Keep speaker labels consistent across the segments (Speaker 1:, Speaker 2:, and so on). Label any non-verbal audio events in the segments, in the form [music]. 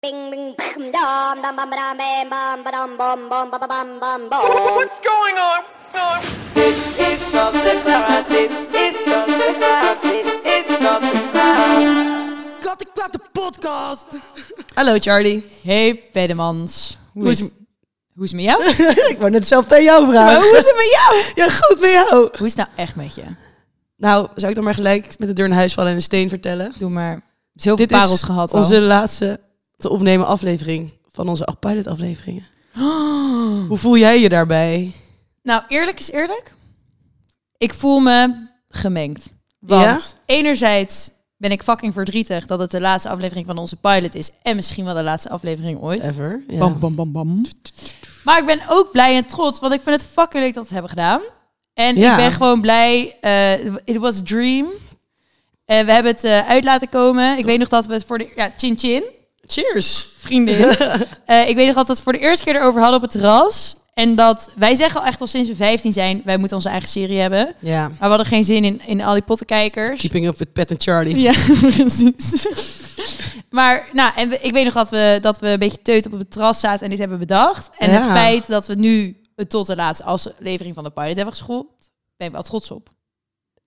Speaker 1: bing bing bing dom dom bam dom bam bam bam bom bom ba ba bam bam bom.
Speaker 2: What's going on? Oh.
Speaker 3: Dit is van de kwaad, dit is van de kwaad, dit is van de kwaad.
Speaker 4: Kattenklatten podcast.
Speaker 5: Hallo Charlie.
Speaker 6: Hey Pedemans. Hoe is,
Speaker 5: is-
Speaker 6: hoe is het met
Speaker 5: [laughs]
Speaker 6: jou?
Speaker 5: Ik wou net zelf aan jou vragen.
Speaker 6: Maar hoe is het met jou?
Speaker 5: [laughs] Ja, goed met jou.
Speaker 6: Hoe is het nou echt met je?
Speaker 5: Nou, zou ik dan maar gelijk met de deur naar huis vallen en een steen vertellen?
Speaker 6: Doe maar. Zoveel parels gehad al.
Speaker 5: onze laatste te opnemen aflevering van onze acht pilot afleveringen.
Speaker 6: [gasps]
Speaker 5: Hoe voel jij je daarbij?
Speaker 6: Nou, eerlijk is eerlijk. Ik voel me gemengd. Want enerzijds ben ik fucking verdrietig dat het de laatste aflevering van onze pilot is. En misschien wel de laatste aflevering ooit.
Speaker 5: Ever. Ja.
Speaker 6: Bam, bam, bam, bam. Maar ik ben ook blij en trots, want ik vind het fucking leuk dat we het hebben gedaan. En
Speaker 5: Ja.
Speaker 6: ik ben gewoon blij. eh it was a dream. En we hebben het eh, uit laten komen. Ik weet nog dat we het voor de... Ja, chin chin,
Speaker 5: Cheers.
Speaker 6: vriendin. [laughs] Eh, ik weet nog dat we het voor de eerste keer erover hadden op het terras. En dat wij zeggen al echt al sinds we 15 zijn, wij moeten onze eigen serie hebben. Maar
Speaker 5: Ja.
Speaker 6: we hadden geen zin in, in al die pottenkijkers.
Speaker 5: Keeping up with Pat en Charlie. [laughs]
Speaker 6: Ja, [laughs] precies. maar, nou, en we- ik weet nog dat we, dat we een beetje teut op het terras zaten en dit hebben bedacht. En het
Speaker 5: Ja.
Speaker 6: feit dat we nu het tot de laatste aflevering van de pilot hebben geschoold, ben ik wel trots op.
Speaker 5: Oh,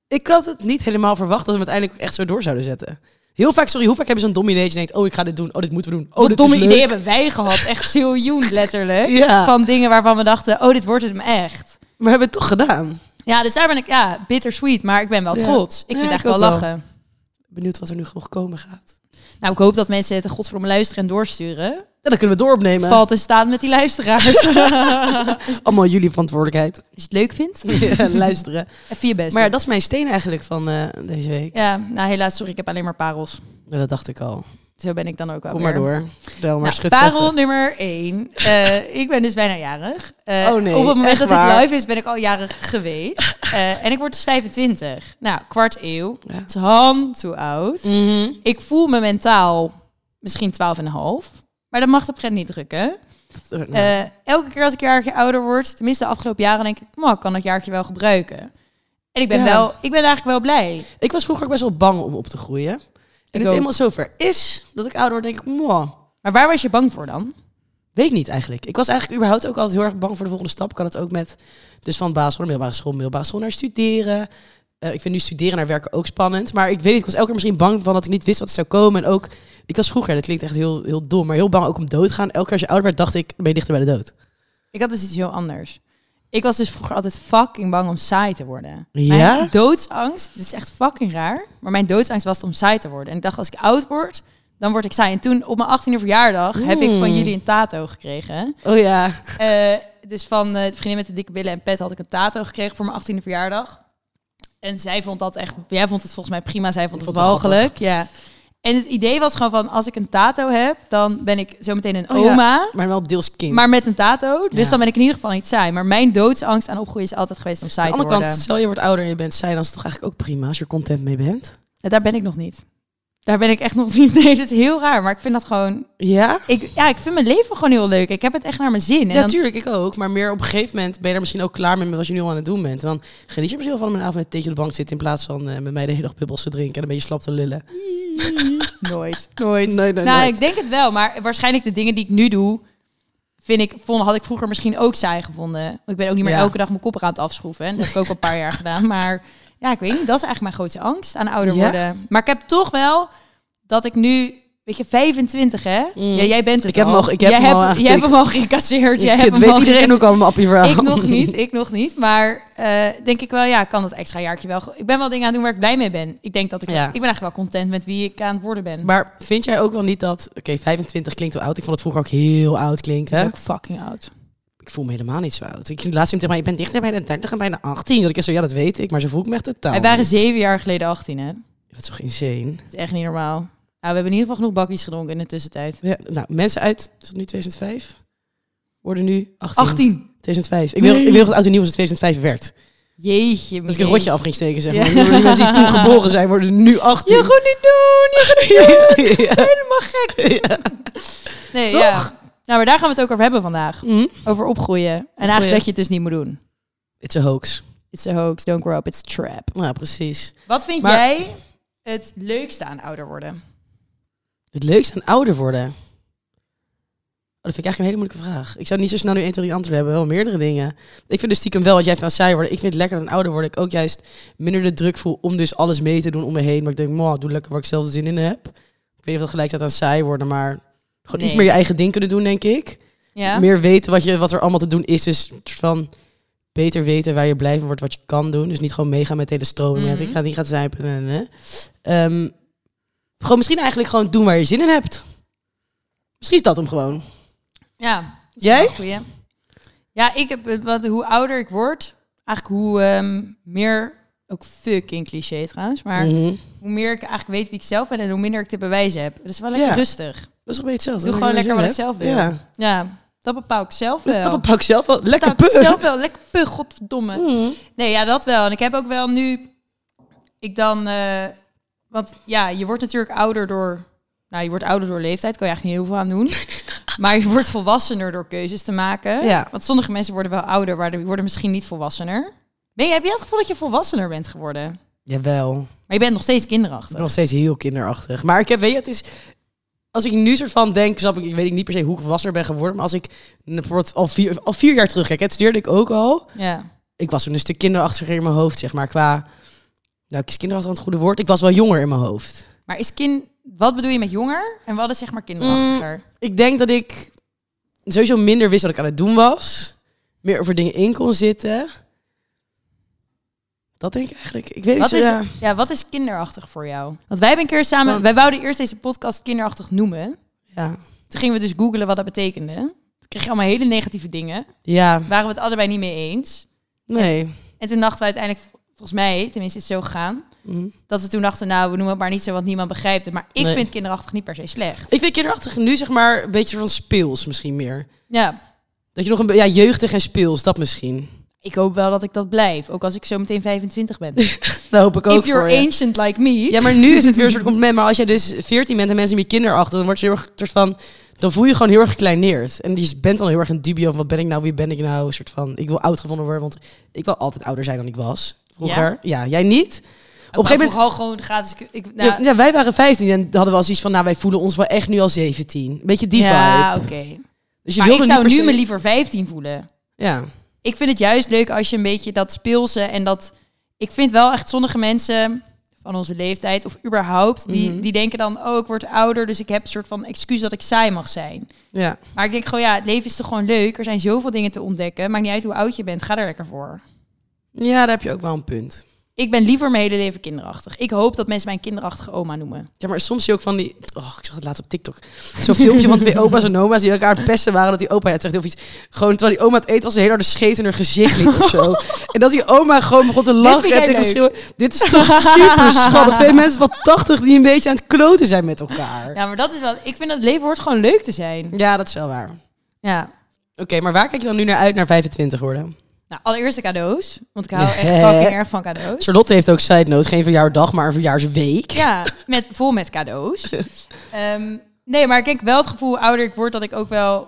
Speaker 5: Ik had het niet helemaal verwacht dat we het uiteindelijk ook echt zo door zouden zetten. Heel vaak, sorry, hoe vaak heb je zo'n dom idee dat je denkt, oh, ik ga dit doen, oh, dit moeten we doen. Oh,
Speaker 6: Wat
Speaker 5: dit
Speaker 6: domme
Speaker 5: is leuk.
Speaker 6: ideeën hebben wij gehad.
Speaker 5: [laughs]
Speaker 6: Echt ziljoen, letterlijk.
Speaker 5: Ja.
Speaker 6: Van dingen waarvan we dachten, oh, dit wordt het hem echt.
Speaker 5: Maar we hebben het toch gedaan.
Speaker 6: Ja, dus daar ben ik, ja, bittersweet, maar ik ben wel
Speaker 5: Ja.
Speaker 6: trots. Ik
Speaker 5: Ja,
Speaker 6: vind
Speaker 5: ik
Speaker 6: het echt wel
Speaker 5: ook wel.
Speaker 6: lachen.
Speaker 5: Benieuwd wat er nu nog komen gaat.
Speaker 6: Nou, ik hoop dat mensen het godverdomme luisteren en doorsturen.
Speaker 5: Ja, dan kunnen we dooropnemen.
Speaker 6: Valt in staat met die luisteraars.
Speaker 5: [laughs] Allemaal jullie verantwoordelijkheid.
Speaker 6: Als je het leuk vindt,
Speaker 5: Ja, [laughs] luisteren.
Speaker 6: even je best.
Speaker 5: Maar ja,
Speaker 6: doen.
Speaker 5: dat is mijn steen eigenlijk van eh, deze week.
Speaker 6: Ja, nou helaas, sorry, ik heb alleen maar parels.
Speaker 5: Ja, dat dacht ik al.
Speaker 6: Zo ben ik dan ook wel
Speaker 5: Kom
Speaker 6: weer.
Speaker 5: maar door. Vertel maar,
Speaker 6: Nou,
Speaker 5: schud
Speaker 6: parel
Speaker 5: zeggen.
Speaker 6: nummer één. Eh, ik ben dus bijna jarig. Eh,
Speaker 5: Oh nee,
Speaker 6: op het moment
Speaker 5: echt
Speaker 6: dat
Speaker 5: waar?
Speaker 6: dit live is, ben ik al jarig geweest. Eh, en ik word dus 25. Nou, kwart eeuw.
Speaker 5: Ja.
Speaker 6: Het is hand toe oud.
Speaker 5: Mhm.
Speaker 6: Ik voel me mentaal misschien 12,5. Maar dat mag de pret niet drukken.
Speaker 5: Nou,
Speaker 6: Eh, elke keer als ik een jaartje ouder word, tenminste de afgelopen jaren, denk ik, "Man, ik kan dat jaartje wel gebruiken. En ik ben,
Speaker 5: Ja.
Speaker 6: wel, ik ben eigenlijk wel blij.
Speaker 5: ik was vroeger ook best wel bang om op te groeien. En
Speaker 6: ook.
Speaker 5: het eenmaal zover is dat ik ouder word, denk ik, mwah,
Speaker 6: Maar waar was je bang voor dan?
Speaker 5: Weet niet eigenlijk. Ik was eigenlijk überhaupt ook altijd heel erg bang voor de volgende stap. Ik had het ook met, dus van basisschool naar middelbare school, middelbare school naar studeren. Eh, ik vind nu studeren naar werken ook spannend. Maar ik weet niet, ik was elke keer misschien bang van dat ik niet wist wat er zou komen. En ook, ik was vroeger, dat klinkt echt heel, heel dom, maar heel bang ook om dood te gaan. Elke keer als je ouder werd, dacht ik, dan ben je dichter bij de dood.
Speaker 6: Ik had dus iets heel anders. Ik was dus vroeger altijd fucking bang om saai te worden.
Speaker 5: Ja?
Speaker 6: Mijn doodsangst, dit is echt fucking raar, maar mijn doodsangst was om saai te worden. En ik dacht, als ik oud word, dan word ik saai. En toen, op mijn 18e verjaardag, heb ik
Speaker 5: Hmm.
Speaker 6: van jullie een tato gekregen.
Speaker 5: Oh ja.
Speaker 6: Eh, dus van eh, de vriendin met de dikke billen en pet had ik een tato gekregen voor mijn 18e verjaardag. En zij vond dat echt, jij vond het volgens mij prima, zij vond het
Speaker 5: vond het
Speaker 6: walgelijk. Ja. En het idee was gewoon van, als ik een tato heb, dan ben ik zometeen een
Speaker 5: Oh ja.
Speaker 6: oma.
Speaker 5: Maar wel deels kind.
Speaker 6: Maar met een tato. Dus
Speaker 5: Ja.
Speaker 6: dan ben ik in ieder geval niet saai. Maar mijn doodsangst aan opgroeien is altijd geweest om
Speaker 5: aan
Speaker 6: saai
Speaker 5: de
Speaker 6: te
Speaker 5: andere
Speaker 6: worden.
Speaker 5: kant, stel je wordt ouder en je bent saai, dan is het toch eigenlijk ook prima als je er content mee bent.
Speaker 6: Ja, daar ben ik nog niet. Daar ben ik echt nog [laughs] niet. Nee, dat is heel raar. Maar ik vind dat gewoon...
Speaker 5: Ja?
Speaker 6: Ik, ja, ik vind mijn leven gewoon heel leuk. Ik heb het echt naar mijn zin. En
Speaker 5: Ja,
Speaker 6: dan-
Speaker 5: natuurlijk, ik ook. Maar meer op een gegeven moment ben je er misschien ook klaar mee met wat je nu al aan het doen bent. En dan geniet je misschien wel van om een avond met een theetje op de bank te zitten... in plaats van eh, met mij de hele dag bubbels te drinken en een beetje slap te lullen.
Speaker 6: Nooit.
Speaker 5: Nooit. Nee, nee,
Speaker 6: nou,
Speaker 5: nooit.
Speaker 6: ik denk het wel. Maar waarschijnlijk de dingen die ik nu doe... Vind ik, vond, had ik vroeger misschien ook saai gevonden. Want ik ben ook niet meer
Speaker 5: Ja.
Speaker 6: elke dag mijn kop aan het afschroeven. En dat heb ik ook al een paar jaar gedaan. Maar ja, ik weet niet. Dat is eigenlijk mijn grootste angst aan ouder
Speaker 5: Ja?
Speaker 6: worden. Maar ik heb toch wel dat ik nu... Weet je, 25 hè? Ja, jij bent het
Speaker 5: Mm. Ik heb
Speaker 6: al.
Speaker 5: hem al- ik heb
Speaker 6: jij
Speaker 5: hem al
Speaker 6: hebt, jij
Speaker 5: aangetikt.
Speaker 6: hebt hem al gecasseerd. Jij
Speaker 5: Ik-
Speaker 6: hebt
Speaker 5: het
Speaker 6: hem
Speaker 5: weet
Speaker 6: al
Speaker 5: iedereen ook al mijn appie verhaal.
Speaker 6: ik nog niet, ik nog niet. Maar eh, denk ik wel, ja, ik kan dat extra jaartje wel. go- Ik ben wel dingen aan het doen waar ik blij mee ben. Ik denk dat ik,
Speaker 5: Ja.
Speaker 6: ik ben eigenlijk wel content met wie ik aan het worden ben.
Speaker 5: [laughs] Maar vind jij ook wel niet dat... Oké, 25 klinkt wel oud. Ik vond het vroeger ook heel oud klinken.
Speaker 6: dat is ook fucking oud.
Speaker 5: Ik voel me helemaal niet zo oud. Ik laatst iemand tegen mij, je bent dichter bij de 30 en bijna 18. Dat ik echt zo, ja, dat weet ik. Maar ze voel ik me echt totaal
Speaker 6: Wij waren
Speaker 5: niet.
Speaker 6: zeven jaar geleden 18, hè? Dat
Speaker 5: Dat is toch insane?
Speaker 6: is echt niet normaal. Nou, we hebben in ieder geval genoeg bakjes gedronken in de tussentijd.
Speaker 5: Ja, nou, mensen uit, is dat nu 2005? Worden nu 18.
Speaker 6: 18!
Speaker 5: 2005. Ik wil, ik wil dat het oud en nieuw was in 2005 werd.
Speaker 6: Jeetje,
Speaker 5: Dat ik een
Speaker 6: meneer.
Speaker 5: rotje af ging steken, zeg
Speaker 6: Ja.
Speaker 5: maar. Die mensen die toen [laughs] geboren zijn, worden nu 18.
Speaker 6: Je gaat niet doen, je gaat niet doen.
Speaker 5: [laughs] Ja.
Speaker 6: Het is helemaal
Speaker 5: [laughs]
Speaker 6: gek. Nee,
Speaker 5: Eh. Toch?
Speaker 6: Ja. Nou, maar daar gaan we het ook over hebben vandaag.
Speaker 5: Mhm.
Speaker 6: Over opgroeien. En eigenlijk
Speaker 5: Opgroeien.
Speaker 6: dat je het dus niet moet doen.
Speaker 5: It's a hoax.
Speaker 6: It's a hoax, don't grow up, it's a trap.
Speaker 5: Nou, precies.
Speaker 6: Wat vind
Speaker 5: Maar-
Speaker 6: jij het leukste aan ouder worden?
Speaker 5: Het leukste aan ouder worden. Oh, dat vind ik eigenlijk een hele moeilijke vraag. Ik zou niet zo snel nu één, tot die antwoord hebben. Wel meerdere dingen. Ik vind dus stiekem wel wat jij van saai worden. Ik vind het lekker dat een ouder word ik ook juist minder de druk voel om dus alles mee te doen om me heen. Maar ik denk, wow, doe lekker waar ik zelf de zin in heb. Ik weet niet of dat gelijk staat aan saai worden, maar gewoon iets
Speaker 6: Nee.
Speaker 5: meer je eigen ding kunnen doen, denk ik.
Speaker 6: Ja.
Speaker 5: Meer weten wat, je, wat er allemaal te doen is. Dus een soort van beter weten waar je blij van wordt, wat je kan doen. Dus niet gewoon meegaan met de hele stroming.
Speaker 6: Mhm.
Speaker 5: Ik ga niet gaan zuipen. en, hè. Ehm, gewoon misschien eigenlijk gewoon doen waar je zin in hebt. Misschien is dat hem gewoon.
Speaker 6: Ja.
Speaker 5: Jij?
Speaker 6: Goeie. Ja, ik heb het wat, hoe ouder ik word, eigenlijk hoe ehm, meer, ook fucking cliché trouwens, maar
Speaker 5: Mhm.
Speaker 6: hoe meer ik eigenlijk weet wie ik zelf ben en hoe minder ik te bewijzen heb. Dus wel lekker
Speaker 5: Ja.
Speaker 6: rustig.
Speaker 5: Dat is een beetje hetzelfde.
Speaker 6: Doe gewoon
Speaker 5: Als je
Speaker 6: lekker
Speaker 5: zin
Speaker 6: wat ik
Speaker 5: hebt.
Speaker 6: zelf wil. Ja, dat bepaal ik zelf wel.
Speaker 5: Ja. Dat bepaal ik zelf wel. Lekker
Speaker 6: bepaal ik
Speaker 5: pug.
Speaker 6: zelf wel. Lekker pug, godverdomme.
Speaker 5: Mhm.
Speaker 6: Nee, ja, dat wel. En ik heb ook wel nu... Ik dan... eh, want ja, je wordt natuurlijk ouder door... Nou, je wordt ouder door leeftijd. Kan je eigenlijk niet heel veel aan doen. maar je wordt volwassener door keuzes te maken.
Speaker 5: Ja.
Speaker 6: Want sommige mensen worden wel ouder, maar die worden misschien niet volwassener. Ben je, heb je het gevoel dat je volwassener bent geworden?
Speaker 5: Jawel.
Speaker 6: Maar je bent nog steeds
Speaker 5: Ik
Speaker 6: kinderachtig.
Speaker 5: ben nog steeds heel kinderachtig. Maar ik heb, weet je, het is... Als ik nu soort van denk, snap ik, ik weet ik niet per se hoe ik volwassener ben geworden. Maar als ik bijvoorbeeld al vier, al vier jaar terug kijk, het studeerde ik ook al.
Speaker 6: Ja.
Speaker 5: Ik was toen een stuk kinderachtiger in mijn hoofd, zeg maar. Qua, nou, ik is kinderachtig aan het goede woord. Ik was wel jonger in mijn hoofd.
Speaker 6: Maar is kind... Wat bedoel je met jonger? En wat is zeg maar kinderachtiger?
Speaker 5: Ik denk dat ik sowieso minder wist wat ik aan het doen was. Meer over dingen in kon zitten. Dat denk ik eigenlijk. Ik weet
Speaker 6: Wat
Speaker 5: niet
Speaker 6: is,
Speaker 5: zo, ja. Nou.
Speaker 6: ja. wat is kinderachtig voor jou? Want wij hebben een keer samen...
Speaker 5: Gewoon-
Speaker 6: Wij wouden eerst deze podcast kinderachtig noemen.
Speaker 5: Ja.
Speaker 6: Toen gingen we dus googlen wat dat betekende. Toen kreeg je allemaal hele negatieve dingen.
Speaker 5: ja,
Speaker 6: Waren we het allebei niet mee eens.
Speaker 5: nee.
Speaker 6: En toen dachten we uiteindelijk, vol- volgens mij, tenminste is het zo gegaan...
Speaker 5: Mhm.
Speaker 6: dat we toen dachten, nou, we noemen het maar niet zo wat niemand begrijpt. het. Maar ik
Speaker 5: Nee.
Speaker 6: vind kinderachtig niet per se slecht.
Speaker 5: Ik vind kinderachtig nu zeg maar een beetje van speels misschien meer.
Speaker 6: Ja,
Speaker 5: Dat je nog een be- ja, jeugdig en speels, dat misschien.
Speaker 6: ik hoop wel dat ik dat blijf. Ook als ik zo meteen 25 ben.
Speaker 5: Dat hoop [laughs] ik ook
Speaker 6: If you're
Speaker 5: voor je.
Speaker 6: ancient like me...
Speaker 5: [laughs] Ja, maar nu is het weer een soort compliment. Maar als jij dus 14 bent en mensen meer kinderachtig, dan word je heel erg een soort van. Dan voel je je gewoon heel erg gekleineerd. En je bent dan heel erg in dubio van wat ben ik nou, wie ben ik nou? Een soort van, ik wil oud gevonden worden, want ik wil altijd ouder zijn dan ik was. Vroeger. Ja, jij niet?
Speaker 6: op een
Speaker 5: gegeven
Speaker 6: gegeven
Speaker 5: moment-
Speaker 6: moment... gewoon gratis... ku- Ik, nou,
Speaker 5: Ja, wij waren 15 en hadden wel zoiets van, nou, wij voelen ons wel echt nu al 17. Een beetje die
Speaker 6: ja,
Speaker 5: vibe.
Speaker 6: oké.
Speaker 5: Dus
Speaker 6: Maar ik
Speaker 5: wilde
Speaker 6: zou
Speaker 5: niet per
Speaker 6: nu
Speaker 5: se-
Speaker 6: me liever 15 voelen.
Speaker 5: Ja.
Speaker 6: ik vind het juist leuk als je een beetje dat speelse en dat... Ik vind wel echt sommige mensen van onze leeftijd of überhaupt... Die,
Speaker 5: Mhm.
Speaker 6: die denken dan, oh, ik word ouder, dus ik heb een soort van excuus dat ik saai mag zijn.
Speaker 5: ja.
Speaker 6: Maar ik denk gewoon, ja, het leven is toch gewoon leuk? Er zijn zoveel dingen te ontdekken. Maakt niet uit hoe oud je bent, ga er lekker voor.
Speaker 5: Ja, daar heb je ook wel een punt.
Speaker 6: Ik ben liever mijn hele leven kinderachtig. Ik hoop dat mensen mij een kinderachtige oma noemen.
Speaker 5: Ja, maar soms zie je ook van die... Oh, ik zag het laatst op TikTok. Zo'n filmpje van twee opa's en oma's die elkaar aan het pesten waren. Dat die opa, ja, terecht heel iets... Gewoon terwijl die oma het eten was, een hele harde scheet in haar gezicht liet of
Speaker 6: [laughs]
Speaker 5: zo. En dat die oma gewoon begon te lachen
Speaker 6: vind
Speaker 5: en
Speaker 6: jij
Speaker 5: tegen me
Speaker 6: leuk.
Speaker 5: schreeuwen. Dit is toch super schattig.
Speaker 6: [laughs]
Speaker 5: Twee mensen van 80 die een beetje aan het kloten zijn met elkaar. Ja,
Speaker 6: Ja, maar dat is wel... Ik vind dat het leven hoort gewoon leuk te zijn.
Speaker 5: dat is wel waar. Oké,
Speaker 6: Ja.
Speaker 5: maar waar kijk je dan nu naar uit naar 25 worden?
Speaker 6: Nou, allereerst de cadeaus. Want ik hou echt
Speaker 5: Ja.
Speaker 6: fucking erg van cadeaus.
Speaker 5: Charlotte heeft ook side note, geen verjaardag, maar een verjaarsweek.
Speaker 6: Ja, met, vol met
Speaker 5: [laughs]
Speaker 6: cadeaus. Ehm, nee, maar ik denk wel het gevoel, hoe ouder ik word, dat ik ook wel,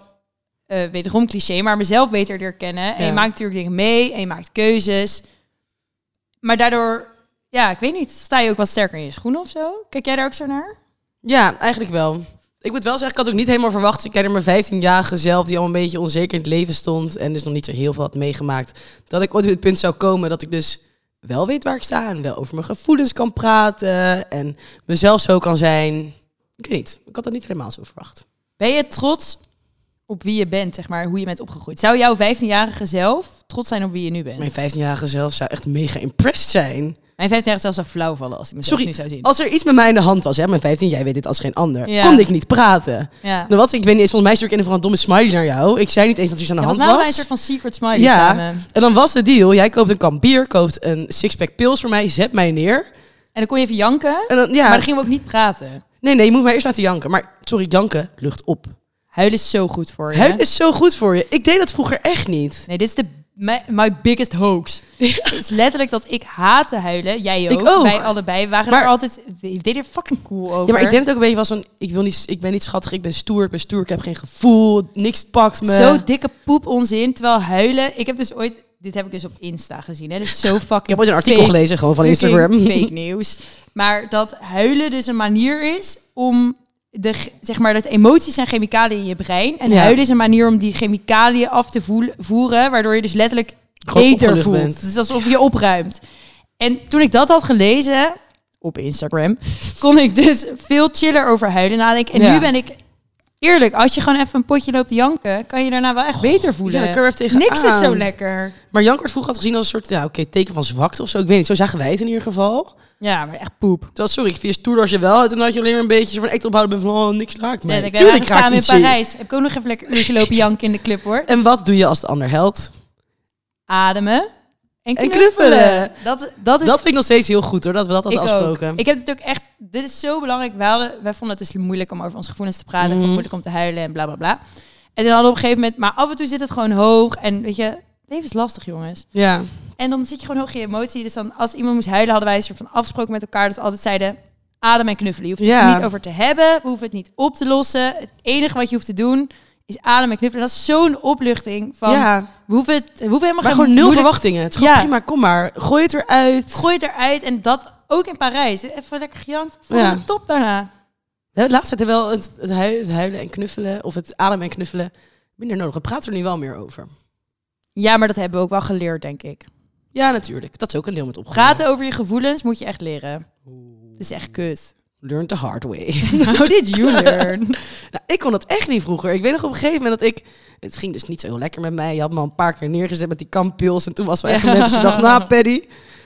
Speaker 6: eh, wederom cliché, maar mezelf beter leer kennen. En je
Speaker 5: Ja.
Speaker 6: maakt natuurlijk dingen mee en je maakt keuzes. Maar daardoor, ja, ik weet niet, sta je ook wat sterker in je schoenen of zo? Kijk jij daar ook zo naar?
Speaker 5: Ja, eigenlijk wel. Ik moet wel zeggen, ik had ook niet helemaal verwacht. Ik kijk naar mijn 15-jarige zelf, die al een beetje onzeker in het leven stond. En dus nog niet zo heel veel had meegemaakt. Dat ik ooit op het punt zou komen dat ik dus wel weet waar ik sta. En wel over mijn gevoelens kan praten. En mezelf zo kan zijn. Ik weet niet. Ik had dat niet helemaal zo verwacht.
Speaker 6: Ben je trots op wie je bent, zeg maar, hoe je bent opgegroeid? Zou jouw 15-jarige zelf trots zijn op wie je nu bent?
Speaker 5: Mijn 15-jarige zelf zou echt mega impressed zijn.
Speaker 6: Mijn 15-jarige zelf zou flauw vallen als ik mezelf
Speaker 5: Sorry,
Speaker 6: nu zou zien.
Speaker 5: Als er iets met mij in de hand was, hè, mijn 15, jij weet dit als geen ander.
Speaker 6: Ja.
Speaker 5: Kon ik niet praten.
Speaker 6: Ja.
Speaker 5: Dan was ik, ik weet niet eens, volgens mij stuur ik een of andere domme smiley naar jou. Ik zei niet eens dat er iets aan de
Speaker 6: Ja, volgens
Speaker 5: hand was.
Speaker 6: mij hadden wij een soort van secret smiley
Speaker 5: Ja.
Speaker 6: samen.
Speaker 5: En dan was de deal, jij koopt een kan bier, koopt een sixpack pils voor mij, zet mij neer.
Speaker 6: En dan kon je even janken,
Speaker 5: En dan, ja,
Speaker 6: maar dan gingen we ook niet praten.
Speaker 5: nee, nee, je moet mij eerst laten janken. Maar sorry, janken lucht op.
Speaker 6: Huilen is zo goed voor je.
Speaker 5: Huilen is zo goed voor je. Ik deed dat vroeger echt niet.
Speaker 6: Nee, dit is de my, my biggest
Speaker 5: [laughs]
Speaker 6: hoax. Het is letterlijk dat ik haatte huilen. Jij ook.
Speaker 5: Ik ook.
Speaker 6: Wij allebei waren
Speaker 5: Maar-
Speaker 6: er altijd... We deden er fucking cool over.
Speaker 5: Ja, maar ik deed het ook een beetje was van, ik, wil niet, ik ben niet schattig, ik ben stoer, ik ben stoer, ik heb geen gevoel, niks pakt me.
Speaker 6: Zo dikke poep onzin. Terwijl huilen... Ik heb dus ooit... Dit heb ik dus op Insta gezien. Hè. Dit
Speaker 5: [laughs]
Speaker 6: is zo fucking
Speaker 5: ik heb ooit een artikel
Speaker 6: fake-
Speaker 5: gelezen, gewoon van
Speaker 6: fucking
Speaker 5: Instagram.
Speaker 6: fake nieuws. Maar dat huilen dus een manier is om de, g- zeg maar, dat emoties zijn chemicaliën in je brein. En
Speaker 5: Ja.
Speaker 6: huilen is een manier om die chemicaliën af te voel- voeren, waardoor je dus letterlijk
Speaker 5: Gewoon
Speaker 6: beter
Speaker 5: opgelucht
Speaker 6: voelt.
Speaker 5: bent.
Speaker 6: Het is alsof je opruimt. En toen ik dat had gelezen op Instagram, kon ik dus veel chiller over huilen nadenken. En
Speaker 5: Ja.
Speaker 6: nu ben ik eerlijk, als je gewoon even een potje loopt te janken, kan je daarna wel echt beter voelen.
Speaker 5: ja, dan kunnen we even
Speaker 6: Niks is zo
Speaker 5: tegenaan.
Speaker 6: lekker.
Speaker 5: Maar Jank werd vroeger altijd gezien als een soort ja, oké, teken van zwakte of zo. Ik weet niet, zo zagen wij het in ieder geval.
Speaker 6: Ja, maar echt poep.
Speaker 5: Dat, sorry, ik vind je stoer als je wel uit en dat je alleen maar een beetje van echt ophouden bent van oh, niks raakt mij.
Speaker 6: Nee, ik
Speaker 5: Tuurlijk
Speaker 6: ben
Speaker 5: raakt
Speaker 6: samen in
Speaker 5: iets je.
Speaker 6: Parijs. Heb ik ook nog even lekker uurtje lopen janken in de club hoor.
Speaker 5: En wat doe je als de ander helpt?
Speaker 6: Ademen en
Speaker 5: En
Speaker 6: knuffelen.
Speaker 5: knuffelen.
Speaker 6: Dat, dat is
Speaker 5: Dat vind ik nog steeds heel goed hoor, dat we dat hadden
Speaker 6: ik
Speaker 5: afgesproken.
Speaker 6: Ook. Ik heb het ook echt. Dit is zo belangrijk. Wij, hadden- wij vonden het dus moeilijk om over onze gevoelens te praten. Van moeilijk om te huilen en bla bla bla. En toen hadden we op een gegeven moment. Maar af en toe zit het gewoon hoog. En weet je, leven is lastig, jongens.
Speaker 5: Ja.
Speaker 6: En dan zit je gewoon hoog in je emotie. Dus dan als iemand moest huilen, hadden wij een soort van afgesproken met elkaar. Dat we altijd zeiden. Adem en knuffelen. Je hoeft het
Speaker 5: Ja.
Speaker 6: er niet over te hebben. We hoeven het niet op te lossen. Het enige wat je hoeft te doen is ademen en knuffelen. Dat is zo'n opluchting van.
Speaker 5: ja.
Speaker 6: We hoeven, het, we hoeven helemaal
Speaker 5: Maar
Speaker 6: geen
Speaker 5: gewoon nul
Speaker 6: moeilijk-
Speaker 5: verwachtingen. Het is gewoon
Speaker 6: Ja.
Speaker 5: prima, kom maar. Gooi het eruit.
Speaker 6: Gooi het eruit. En dat ook in Parijs. Even lekker gejankt. Vond
Speaker 5: Ja.
Speaker 6: ik top daarna.
Speaker 5: Ja, Laatst hadden we wel het, het hui- het huilen en knuffelen, of het ademen en knuffelen, minder nodig. We praten er nu wel meer over.
Speaker 6: Ja, maar dat hebben we ook wel geleerd, denk ik.
Speaker 5: Ja, natuurlijk. Dat is ook een deel met opgroeien.
Speaker 6: Praten over je gevoelens moet je echt leren. Dat is echt kut.
Speaker 5: Learn the hard way.
Speaker 6: How did you learn? [laughs]
Speaker 5: nou, ik kon dat echt niet vroeger. Ik weet nog op een gegeven moment dat ik... Het ging dus niet zo heel lekker met mij. Je had me al een paar keer neergezet met die kampils. En toen was we echt net als
Speaker 6: [laughs]
Speaker 5: je dacht, nou Paddy...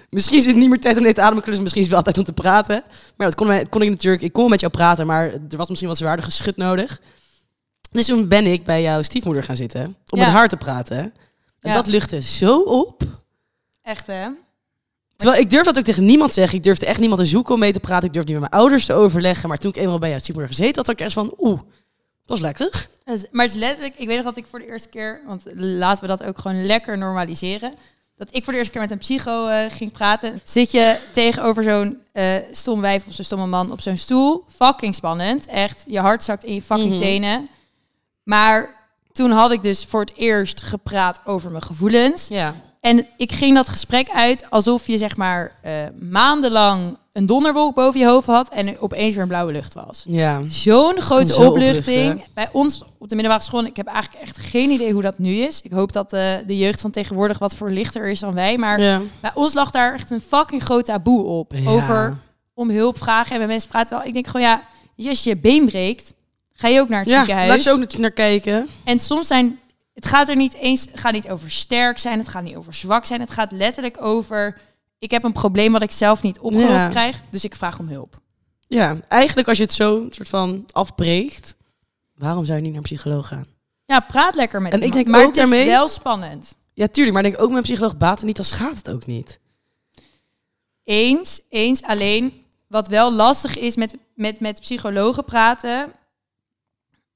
Speaker 5: Misschien is het niet meer tijd om dit ademen te Misschien is het wel tijd om te praten. Maar dat kon, wij- kon ik natuurlijk... Ik kon wel met jou praten, maar er was misschien wat zwaarder geschut nodig. Dus toen ben ik bij jouw stiefmoeder gaan zitten. Om
Speaker 6: Ja.
Speaker 5: met haar te praten. En
Speaker 6: Ja.
Speaker 5: dat luchtte zo op.
Speaker 6: Echt, hè?
Speaker 5: Terwijl ik durf dat ook tegen niemand zeggen. Ik durfde echt niemand te zoeken om mee te praten. Ik durfde niet met mijn ouders te overleggen. Maar toen ik eenmaal bij jou stiefmoeder gezeten had, had ik echt van... Oeh, dat is lekker.
Speaker 6: Dat is- Maar het is letterlijk... Ik weet nog dat ik voor de eerste keer... Want laten we dat ook gewoon lekker normaliseren. Dat ik voor de eerste keer met een psycho eh, ging praten. Zit je tegenover zo'n eh, stom wijf of zo'n stomme man op zo'n stoel. Fucking spannend. Echt. Je hart zakt in je fucking
Speaker 5: Mhm.
Speaker 6: tenen. Maar toen had ik dus voor het eerst gepraat over mijn gevoelens.
Speaker 5: Ja.
Speaker 6: En ik ging dat gesprek uit alsof je zeg maar eh, maandenlang een donderwolk boven je hoofd had en er opeens weer een blauwe lucht was.
Speaker 5: Ja.
Speaker 6: Zo'n grote
Speaker 5: Zo
Speaker 6: opluchting.
Speaker 5: opluchten.
Speaker 6: Bij ons op de middelbare school, ik heb eigenlijk echt geen idee hoe dat nu is. Ik hoop dat eh, de jeugd van tegenwoordig wat verlichter is dan wij. Maar
Speaker 5: ja.
Speaker 6: bij ons lag daar echt een fucking groot taboe op.
Speaker 5: Ja.
Speaker 6: Over om hulp vragen en met mensen praten. Ik denk gewoon ja, weet je, als je je been breekt, ga je ook naar het ziekenhuis.
Speaker 5: laat je ook naar- naar kijken.
Speaker 6: En soms zijn. Het gaat er niet eens. Het gaat niet over sterk zijn. Het gaat niet over zwak zijn. Het gaat letterlijk over. Ik heb een probleem wat ik zelf niet opgelost
Speaker 5: Ja.
Speaker 6: krijg. Dus ik vraag om hulp.
Speaker 5: Ja, eigenlijk als je het zo soort van afbreekt... Waarom zou je niet naar een psycholoog gaan?
Speaker 6: Ja, praat lekker met
Speaker 5: En ik
Speaker 6: iemand.
Speaker 5: denk
Speaker 6: maar
Speaker 5: ook
Speaker 6: het is
Speaker 5: daarmee-
Speaker 6: wel spannend.
Speaker 5: Ja, tuurlijk. Maar ik denk ook met een psycholoog baten niet, dan schaadt het ook niet.
Speaker 6: Eens, eens alleen. Wat wel lastig is met, met, met psychologen praten.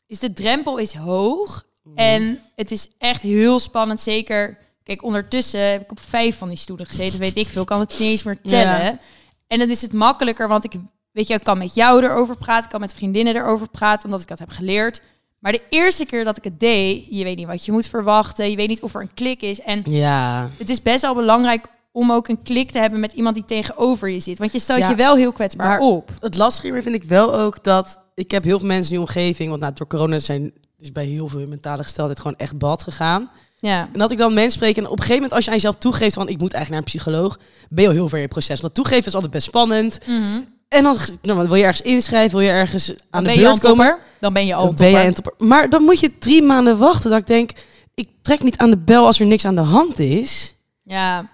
Speaker 6: Is de drempel is hoog. En het is echt heel spannend. Zeker. Kijk, ondertussen heb ik op vijf van die stoelen gezeten. Weet ik veel. Ik kan het niet eens meer tellen.
Speaker 5: Ja.
Speaker 6: En dan is het makkelijker. Want ik weet je, ik kan met jou erover praten. Ik kan met vriendinnen erover praten. Omdat ik dat heb geleerd. Maar de eerste keer dat ik het deed, je weet niet wat je moet verwachten. Je weet niet of er een klik is. En
Speaker 5: Ja.
Speaker 6: het is best wel belangrijk om ook een klik te hebben met iemand die tegenover je zit. Want je stelt
Speaker 5: Ja,
Speaker 6: je wel heel kwetsbaar
Speaker 5: maar-
Speaker 6: op.
Speaker 5: Het lastige hierbij vind ik wel ook dat... Ik heb heel veel mensen in die omgeving... Want nou, door corona zijn, is bij heel veel hun mentale gesteldheid gewoon echt bad gegaan.
Speaker 6: Ja.
Speaker 5: En dat ik dan mensen spreek. En op een gegeven moment, als je aan jezelf toegeeft van ik moet eigenlijk naar een psycholoog, ben je al heel ver in het proces. Want toegeven is altijd best spannend. En dan nou, want wil je ergens inschrijven, wil je ergens aan
Speaker 6: Dan
Speaker 5: de
Speaker 6: ben je al
Speaker 5: beurt
Speaker 6: een
Speaker 5: komen.
Speaker 6: topper. Dan ben je al
Speaker 5: Dan
Speaker 6: een
Speaker 5: ben jij
Speaker 6: topper.
Speaker 5: een topper. Maar dan moet je drie maanden wachten. Dat ik denk, ik trek niet aan de bel als er niks aan de hand is.
Speaker 6: Ja.
Speaker 5: En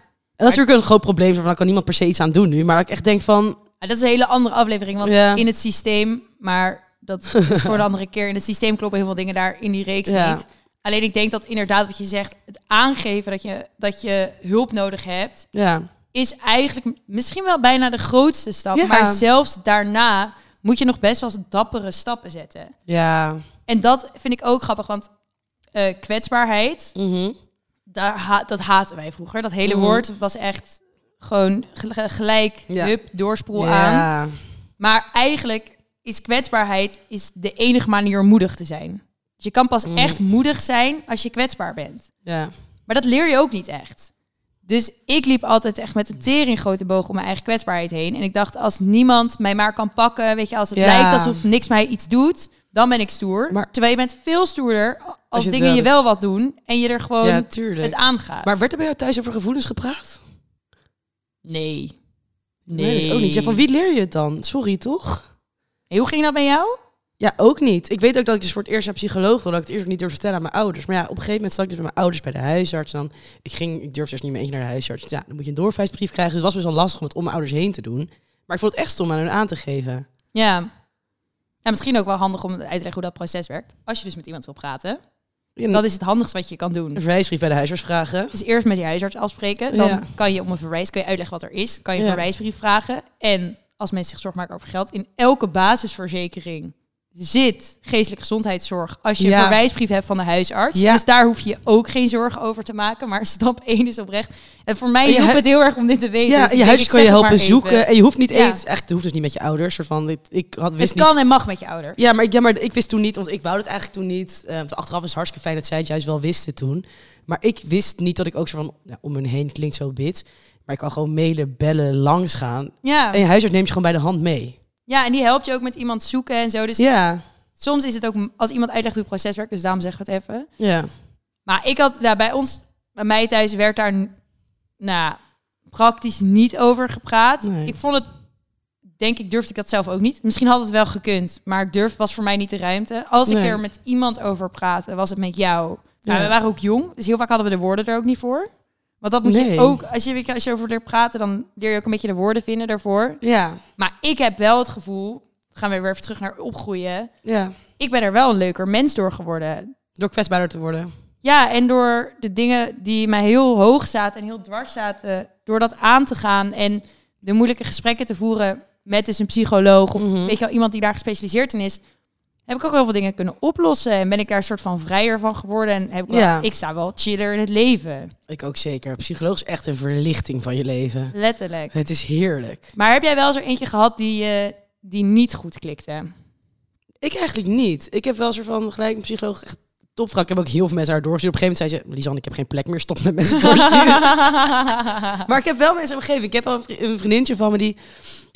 Speaker 5: dat is natuurlijk een groot probleem, van daar kan niemand per se iets aan doen nu. Maar dat ik echt denk van,
Speaker 6: Maar Dat is een hele andere aflevering. Want
Speaker 5: Ja.
Speaker 6: in het systeem, maar dat is voor een andere keer. In het systeem kloppen heel veel dingen daar in die reeks
Speaker 5: Ja.
Speaker 6: niet. Alleen ik denk dat inderdaad wat je zegt, het aangeven dat je, dat je hulp nodig hebt,
Speaker 5: ja,
Speaker 6: is eigenlijk m- misschien wel bijna de grootste stap.
Speaker 5: Ja.
Speaker 6: Maar zelfs daarna moet je nog best wel eens dappere stappen zetten.
Speaker 5: ja,
Speaker 6: En dat vind ik ook grappig, want eh, kwetsbaarheid,
Speaker 5: mhm.
Speaker 6: daar ha- dat haten wij vroeger. Dat hele
Speaker 5: Mhm.
Speaker 6: woord was echt gewoon gel- gelijk,
Speaker 5: Ja.
Speaker 6: hup, doorspoel aan.
Speaker 5: ja.
Speaker 6: Maar eigenlijk is kwetsbaarheid is de enige manier om moedig te zijn. Dus
Speaker 5: Mhm.
Speaker 6: je kan pas echt moedig zijn als je kwetsbaar bent.
Speaker 5: ja.
Speaker 6: Maar dat leer je ook niet echt. Dus ik liep altijd echt
Speaker 5: Mm.
Speaker 6: met een tering grote boog om mijn eigen kwetsbaarheid heen. En ik dacht, als niemand mij maar kan pakken, weet je, als het
Speaker 5: Ja.
Speaker 6: lijkt alsof niks mij iets doet, dan ben ik stoer.
Speaker 5: Maar-
Speaker 6: Terwijl je bent veel stoerder als
Speaker 5: het
Speaker 6: dingen
Speaker 5: wel
Speaker 6: je
Speaker 5: doet.
Speaker 6: wel wat doen en je er gewoon
Speaker 5: Ja, tuurlijk.
Speaker 6: het aangaat.
Speaker 5: Maar werd er bij jou thuis over gevoelens gepraat?
Speaker 6: nee.
Speaker 5: dat is ook niet. Ja, van wie leer je het dan? Sorry, toch?
Speaker 6: Hey, hoe ging dat bij jou?
Speaker 5: Ja, ook niet. Ik weet ook dat ik dus voor het eerst naar een psycholoog wilde. Dat ik het eerst ook niet durfde vertellen aan mijn ouders. Maar ja, op een gegeven moment zat ik dus met mijn ouders bij de huisarts. En dan, ik, ging, ik durfde eerst niet meer eentje naar de huisarts. Ja, dan moet je een doorverwijsbrief krijgen. Dus het was best wel lastig om het om mijn ouders heen te doen. Maar ik vond het echt stom aan hun aan te geven.
Speaker 6: Ja. ja. Misschien ook wel handig om uit te leggen hoe dat proces werkt. Als je dus met iemand wil praten,
Speaker 5: Mm. Ja,
Speaker 6: dat is het handigste wat je kan doen.
Speaker 5: Een verwijsbrief bij de huisarts vragen.
Speaker 6: Dus eerst met je huisarts afspreken. Dan
Speaker 5: Ja.
Speaker 6: kan je om een verwijs, kan je uitleggen wat er is. Kan je een
Speaker 5: Ja.
Speaker 6: verwijsbrief vragen. En als mensen zich zorgen maken over geld, in elke basisverzekering zit geestelijke gezondheidszorg. Als je
Speaker 5: Ja.
Speaker 6: een verwijsbrief hebt van de huisarts.
Speaker 5: Ja.
Speaker 6: Dus daar hoef je je ook geen zorgen over te maken. Maar [laughs] stap 1 is oprecht. En voor mij
Speaker 5: En je
Speaker 6: hielp
Speaker 5: hu-
Speaker 6: het heel erg om dit te weten.
Speaker 5: Ja,
Speaker 6: dus ik
Speaker 5: je
Speaker 6: denk,
Speaker 5: huisarts
Speaker 6: ik
Speaker 5: kan je
Speaker 6: zeg het
Speaker 5: helpen
Speaker 6: maar even.
Speaker 5: zoeken. En je hoeft niet
Speaker 6: Ja.
Speaker 5: eens, echt, je hoeft dus niet met je ouders. Soort van, ik, ik had, wist
Speaker 6: Het
Speaker 5: niet.
Speaker 6: kan en mag met je ouder.
Speaker 5: Ja maar, ik, ja, maar ik wist toen niet, want ik wou het eigenlijk toen niet. Eh, want achteraf is het hartstikke fijn dat zij het juist wel wisten toen. Maar ik wist niet dat ik ook zo van, ja, om hun heen klinkt zo bit. Maar ik kan gewoon mailen, bellen, langsgaan.
Speaker 6: Ja.
Speaker 5: En je huisarts neemt je gewoon bij de hand mee.
Speaker 6: ja, en die helpt je ook met iemand zoeken en zo. Dus
Speaker 5: Ja,
Speaker 6: soms is het ook m- als iemand uitlegt hoe het proces werkt. Dus daarom zeggen we het even.
Speaker 5: ja.
Speaker 6: Maar ik had daar bij ons, bij mij thuis, werd daar nou, praktisch niet over gepraat.
Speaker 5: Nee.
Speaker 6: Ik vond het, denk ik, durfde ik dat zelf ook niet. Misschien had het wel gekund, maar ik durf was voor mij niet de ruimte. Als ik
Speaker 5: Nee.
Speaker 6: er met iemand over praatte, was het met jou. Nou,
Speaker 5: Ja.
Speaker 6: we waren ook jong, dus heel vaak hadden we de woorden er ook niet voor. Want dat moet je
Speaker 5: Nee.
Speaker 6: ook, als je, als je over leert praten, dan leer je ook een beetje de woorden vinden daarvoor.
Speaker 5: Ja,
Speaker 6: Maar ik heb wel het gevoel, gaan we weer even terug naar opgroeien.
Speaker 5: ja.
Speaker 6: Ik ben er wel een leuker mens door geworden.
Speaker 5: Door kwetsbaarder te worden.
Speaker 6: Ja, en door de dingen die mij heel hoog zaten en heel dwars zaten, door dat aan te gaan en de moeilijke gesprekken te voeren met dus een psycholoog of
Speaker 5: Mhm.
Speaker 6: weet je wel, iemand die daar gespecialiseerd in is, heb ik ook heel veel dingen kunnen oplossen en ben ik daar een soort van vrijer van geworden en heb ik, wel-
Speaker 5: Ja.
Speaker 6: ik sta wel chiller in het leven,
Speaker 5: Ik ook zeker. Psycholoog is echt een verlichting van je leven.
Speaker 6: letterlijk.
Speaker 5: Het is heerlijk.
Speaker 6: Maar heb jij wel zo eentje gehad die, eh, die niet goed
Speaker 5: [laughs]
Speaker 6: klikte?
Speaker 5: Ik eigenlijk niet. Ik heb wel een soort van gelijk een psycholoog echt topvrouw. Ik heb ook heel veel mensen haar doorgestuurd. Op een gegeven moment zei ze, Lisanne, ik heb geen plek meer. Stop met mensen doorsturen. Maar ik heb wel mensen in mijn omgeving. Ik heb wel een, vri- een vriendinnetje van me die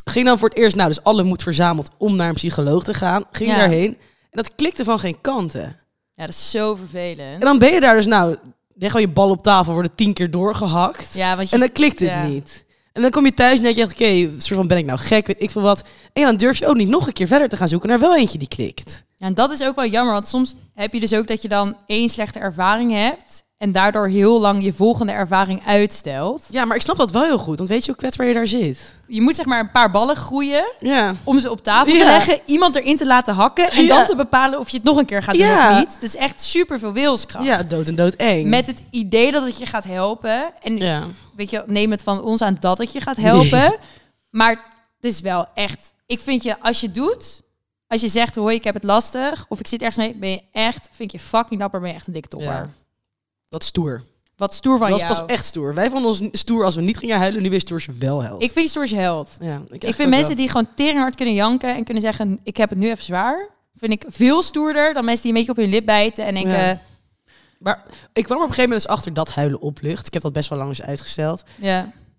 Speaker 5: ging dan voor het eerst, nou, dus alle moed verzameld om naar een psycholoog te gaan. Ging
Speaker 6: Ja.
Speaker 5: daarheen. En dat klikte van geen kanten.
Speaker 6: ja, dat is zo
Speaker 5: En
Speaker 6: vervelend.
Speaker 5: dan ben je daar dus, nou, leg gewoon je bal op tafel, worden tien keer doorgehakt.
Speaker 6: Ja, want je
Speaker 5: En dan klikt het
Speaker 6: ja.
Speaker 5: niet. En dan kom je thuis en denk je echt, oké, soort van ben ik nou gek, weet ik veel wat. En dan durf je ook niet nog een keer verder te gaan zoeken naar wel eentje die klikt.
Speaker 6: Ja, en dat is ook wel jammer, want soms heb je dus ook dat je dan één slechte ervaring hebt en daardoor heel lang je volgende ervaring uitstelt.
Speaker 5: Ja, maar ik snap dat wel heel goed, want weet je hoe kwetsbaar je daar zit?
Speaker 6: Je moet zeg maar een paar ballen groeien
Speaker 5: Ja.
Speaker 6: om ze op tafel te
Speaker 5: Ja.
Speaker 6: leggen, iemand erin te laten hakken en
Speaker 5: Ja.
Speaker 6: dan te bepalen of je het nog een keer gaat doen
Speaker 5: Ja.
Speaker 6: of niet. Het is echt super veel wilskracht.
Speaker 5: Ja, dood en dood eng.
Speaker 6: Met het idee dat het je gaat helpen. En
Speaker 5: Ja.
Speaker 6: weet je, neem het van ons aan dat het je gaat helpen.
Speaker 5: Nee.
Speaker 6: Maar het is wel echt. Ik vind je, als je het doet, als je zegt, hoi, ik heb het lastig, of ik zit ergens mee, ben je echt, vind ik je fucking dapper, ben je echt een dikke topper.
Speaker 5: Ja. Dat is stoer.
Speaker 6: Wat stoer van
Speaker 5: Dat was
Speaker 6: jou.
Speaker 5: pas echt stoer. Wij vonden ons niet stoer als we niet gingen huilen. Nu ben je stoer als je wel helpt.
Speaker 6: Ik vind je stoer als je held.
Speaker 5: ja, ik,
Speaker 6: ik vind mensen die gewoon teringhard kunnen janken en kunnen zeggen, ik heb het nu even zwaar. Vind ik veel stoerder dan mensen die een beetje op hun lip bijten en denken, ja.
Speaker 5: Ja. Maar ik kwam er op een gegeven moment dus achter dat huilen oplucht. Ik heb dat best wel lang eens uitgesteld.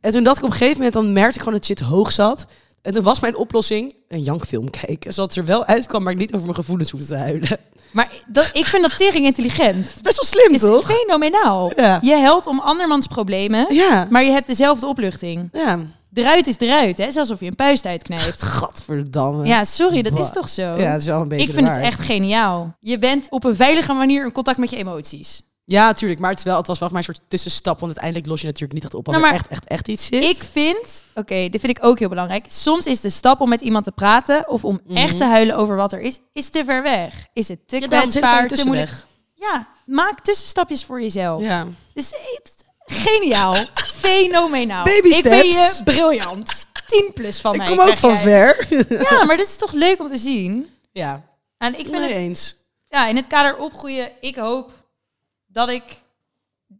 Speaker 5: En toen dat ik op een gegeven moment, dan merkte ik gewoon dat shit hoog zat. En toen was mijn oplossing een jankfilm kijken. Zodat het er wel uitkwam, maar ik niet over mijn gevoelens hoefde te huilen. [laughs] Het
Speaker 6: Maar dat, ik vind dat tering intelligent.
Speaker 5: is Best wel slim,
Speaker 6: Is
Speaker 5: [laughs] toch?
Speaker 6: fenomenaal.
Speaker 5: Ja.
Speaker 6: Je helpt om andermans problemen,
Speaker 5: Ja.
Speaker 6: maar je hebt dezelfde opluchting.
Speaker 5: Ja.
Speaker 6: Eruit is eruit, hè? Het is alsof je een puist
Speaker 5: [laughs]
Speaker 6: uitknijpt.
Speaker 5: Gadverdamme.
Speaker 6: Ja, sorry, dat
Speaker 5: Bah.
Speaker 6: is toch zo?
Speaker 5: Ja, het is wel een beetje
Speaker 6: ik vind
Speaker 5: de
Speaker 6: het
Speaker 5: waarheid.
Speaker 6: echt geniaal. Je bent op een veilige manier in contact met je emoties.
Speaker 5: Ja, tuurlijk. Maar het, is wel, het was wel voor mij een soort tussenstap. Want uiteindelijk los je natuurlijk niet echt op als
Speaker 6: Nou,
Speaker 5: er
Speaker 6: maar
Speaker 5: echt, echt, echt iets zit.
Speaker 6: Ik vind, oké, dit vind ik ook heel belangrijk. Soms is de stap om met iemand te praten of om echt te huilen over wat er is, is te ver weg. Is het te
Speaker 5: Mhm. Ja, daarom zit het
Speaker 6: kwetsbaar,
Speaker 5: er
Speaker 6: te moeilijk. Ja, maak tussenstapjes voor jezelf.
Speaker 5: Ja.
Speaker 6: Dus het,
Speaker 5: [laughs]
Speaker 6: geniaal, fenomenaal.
Speaker 5: Baby
Speaker 6: ik vind je
Speaker 5: steps.
Speaker 6: briljant. 10 plus van
Speaker 5: Ik
Speaker 6: mij.
Speaker 5: kom ook
Speaker 6: krijg
Speaker 5: van
Speaker 6: jij.
Speaker 5: ver.
Speaker 6: Ja, maar dit is toch leuk om te zien.
Speaker 5: Ja.
Speaker 6: En ik vind
Speaker 5: Nee
Speaker 6: het
Speaker 5: eens.
Speaker 6: ja, in het kader opgroeien, ik hoop dat ik...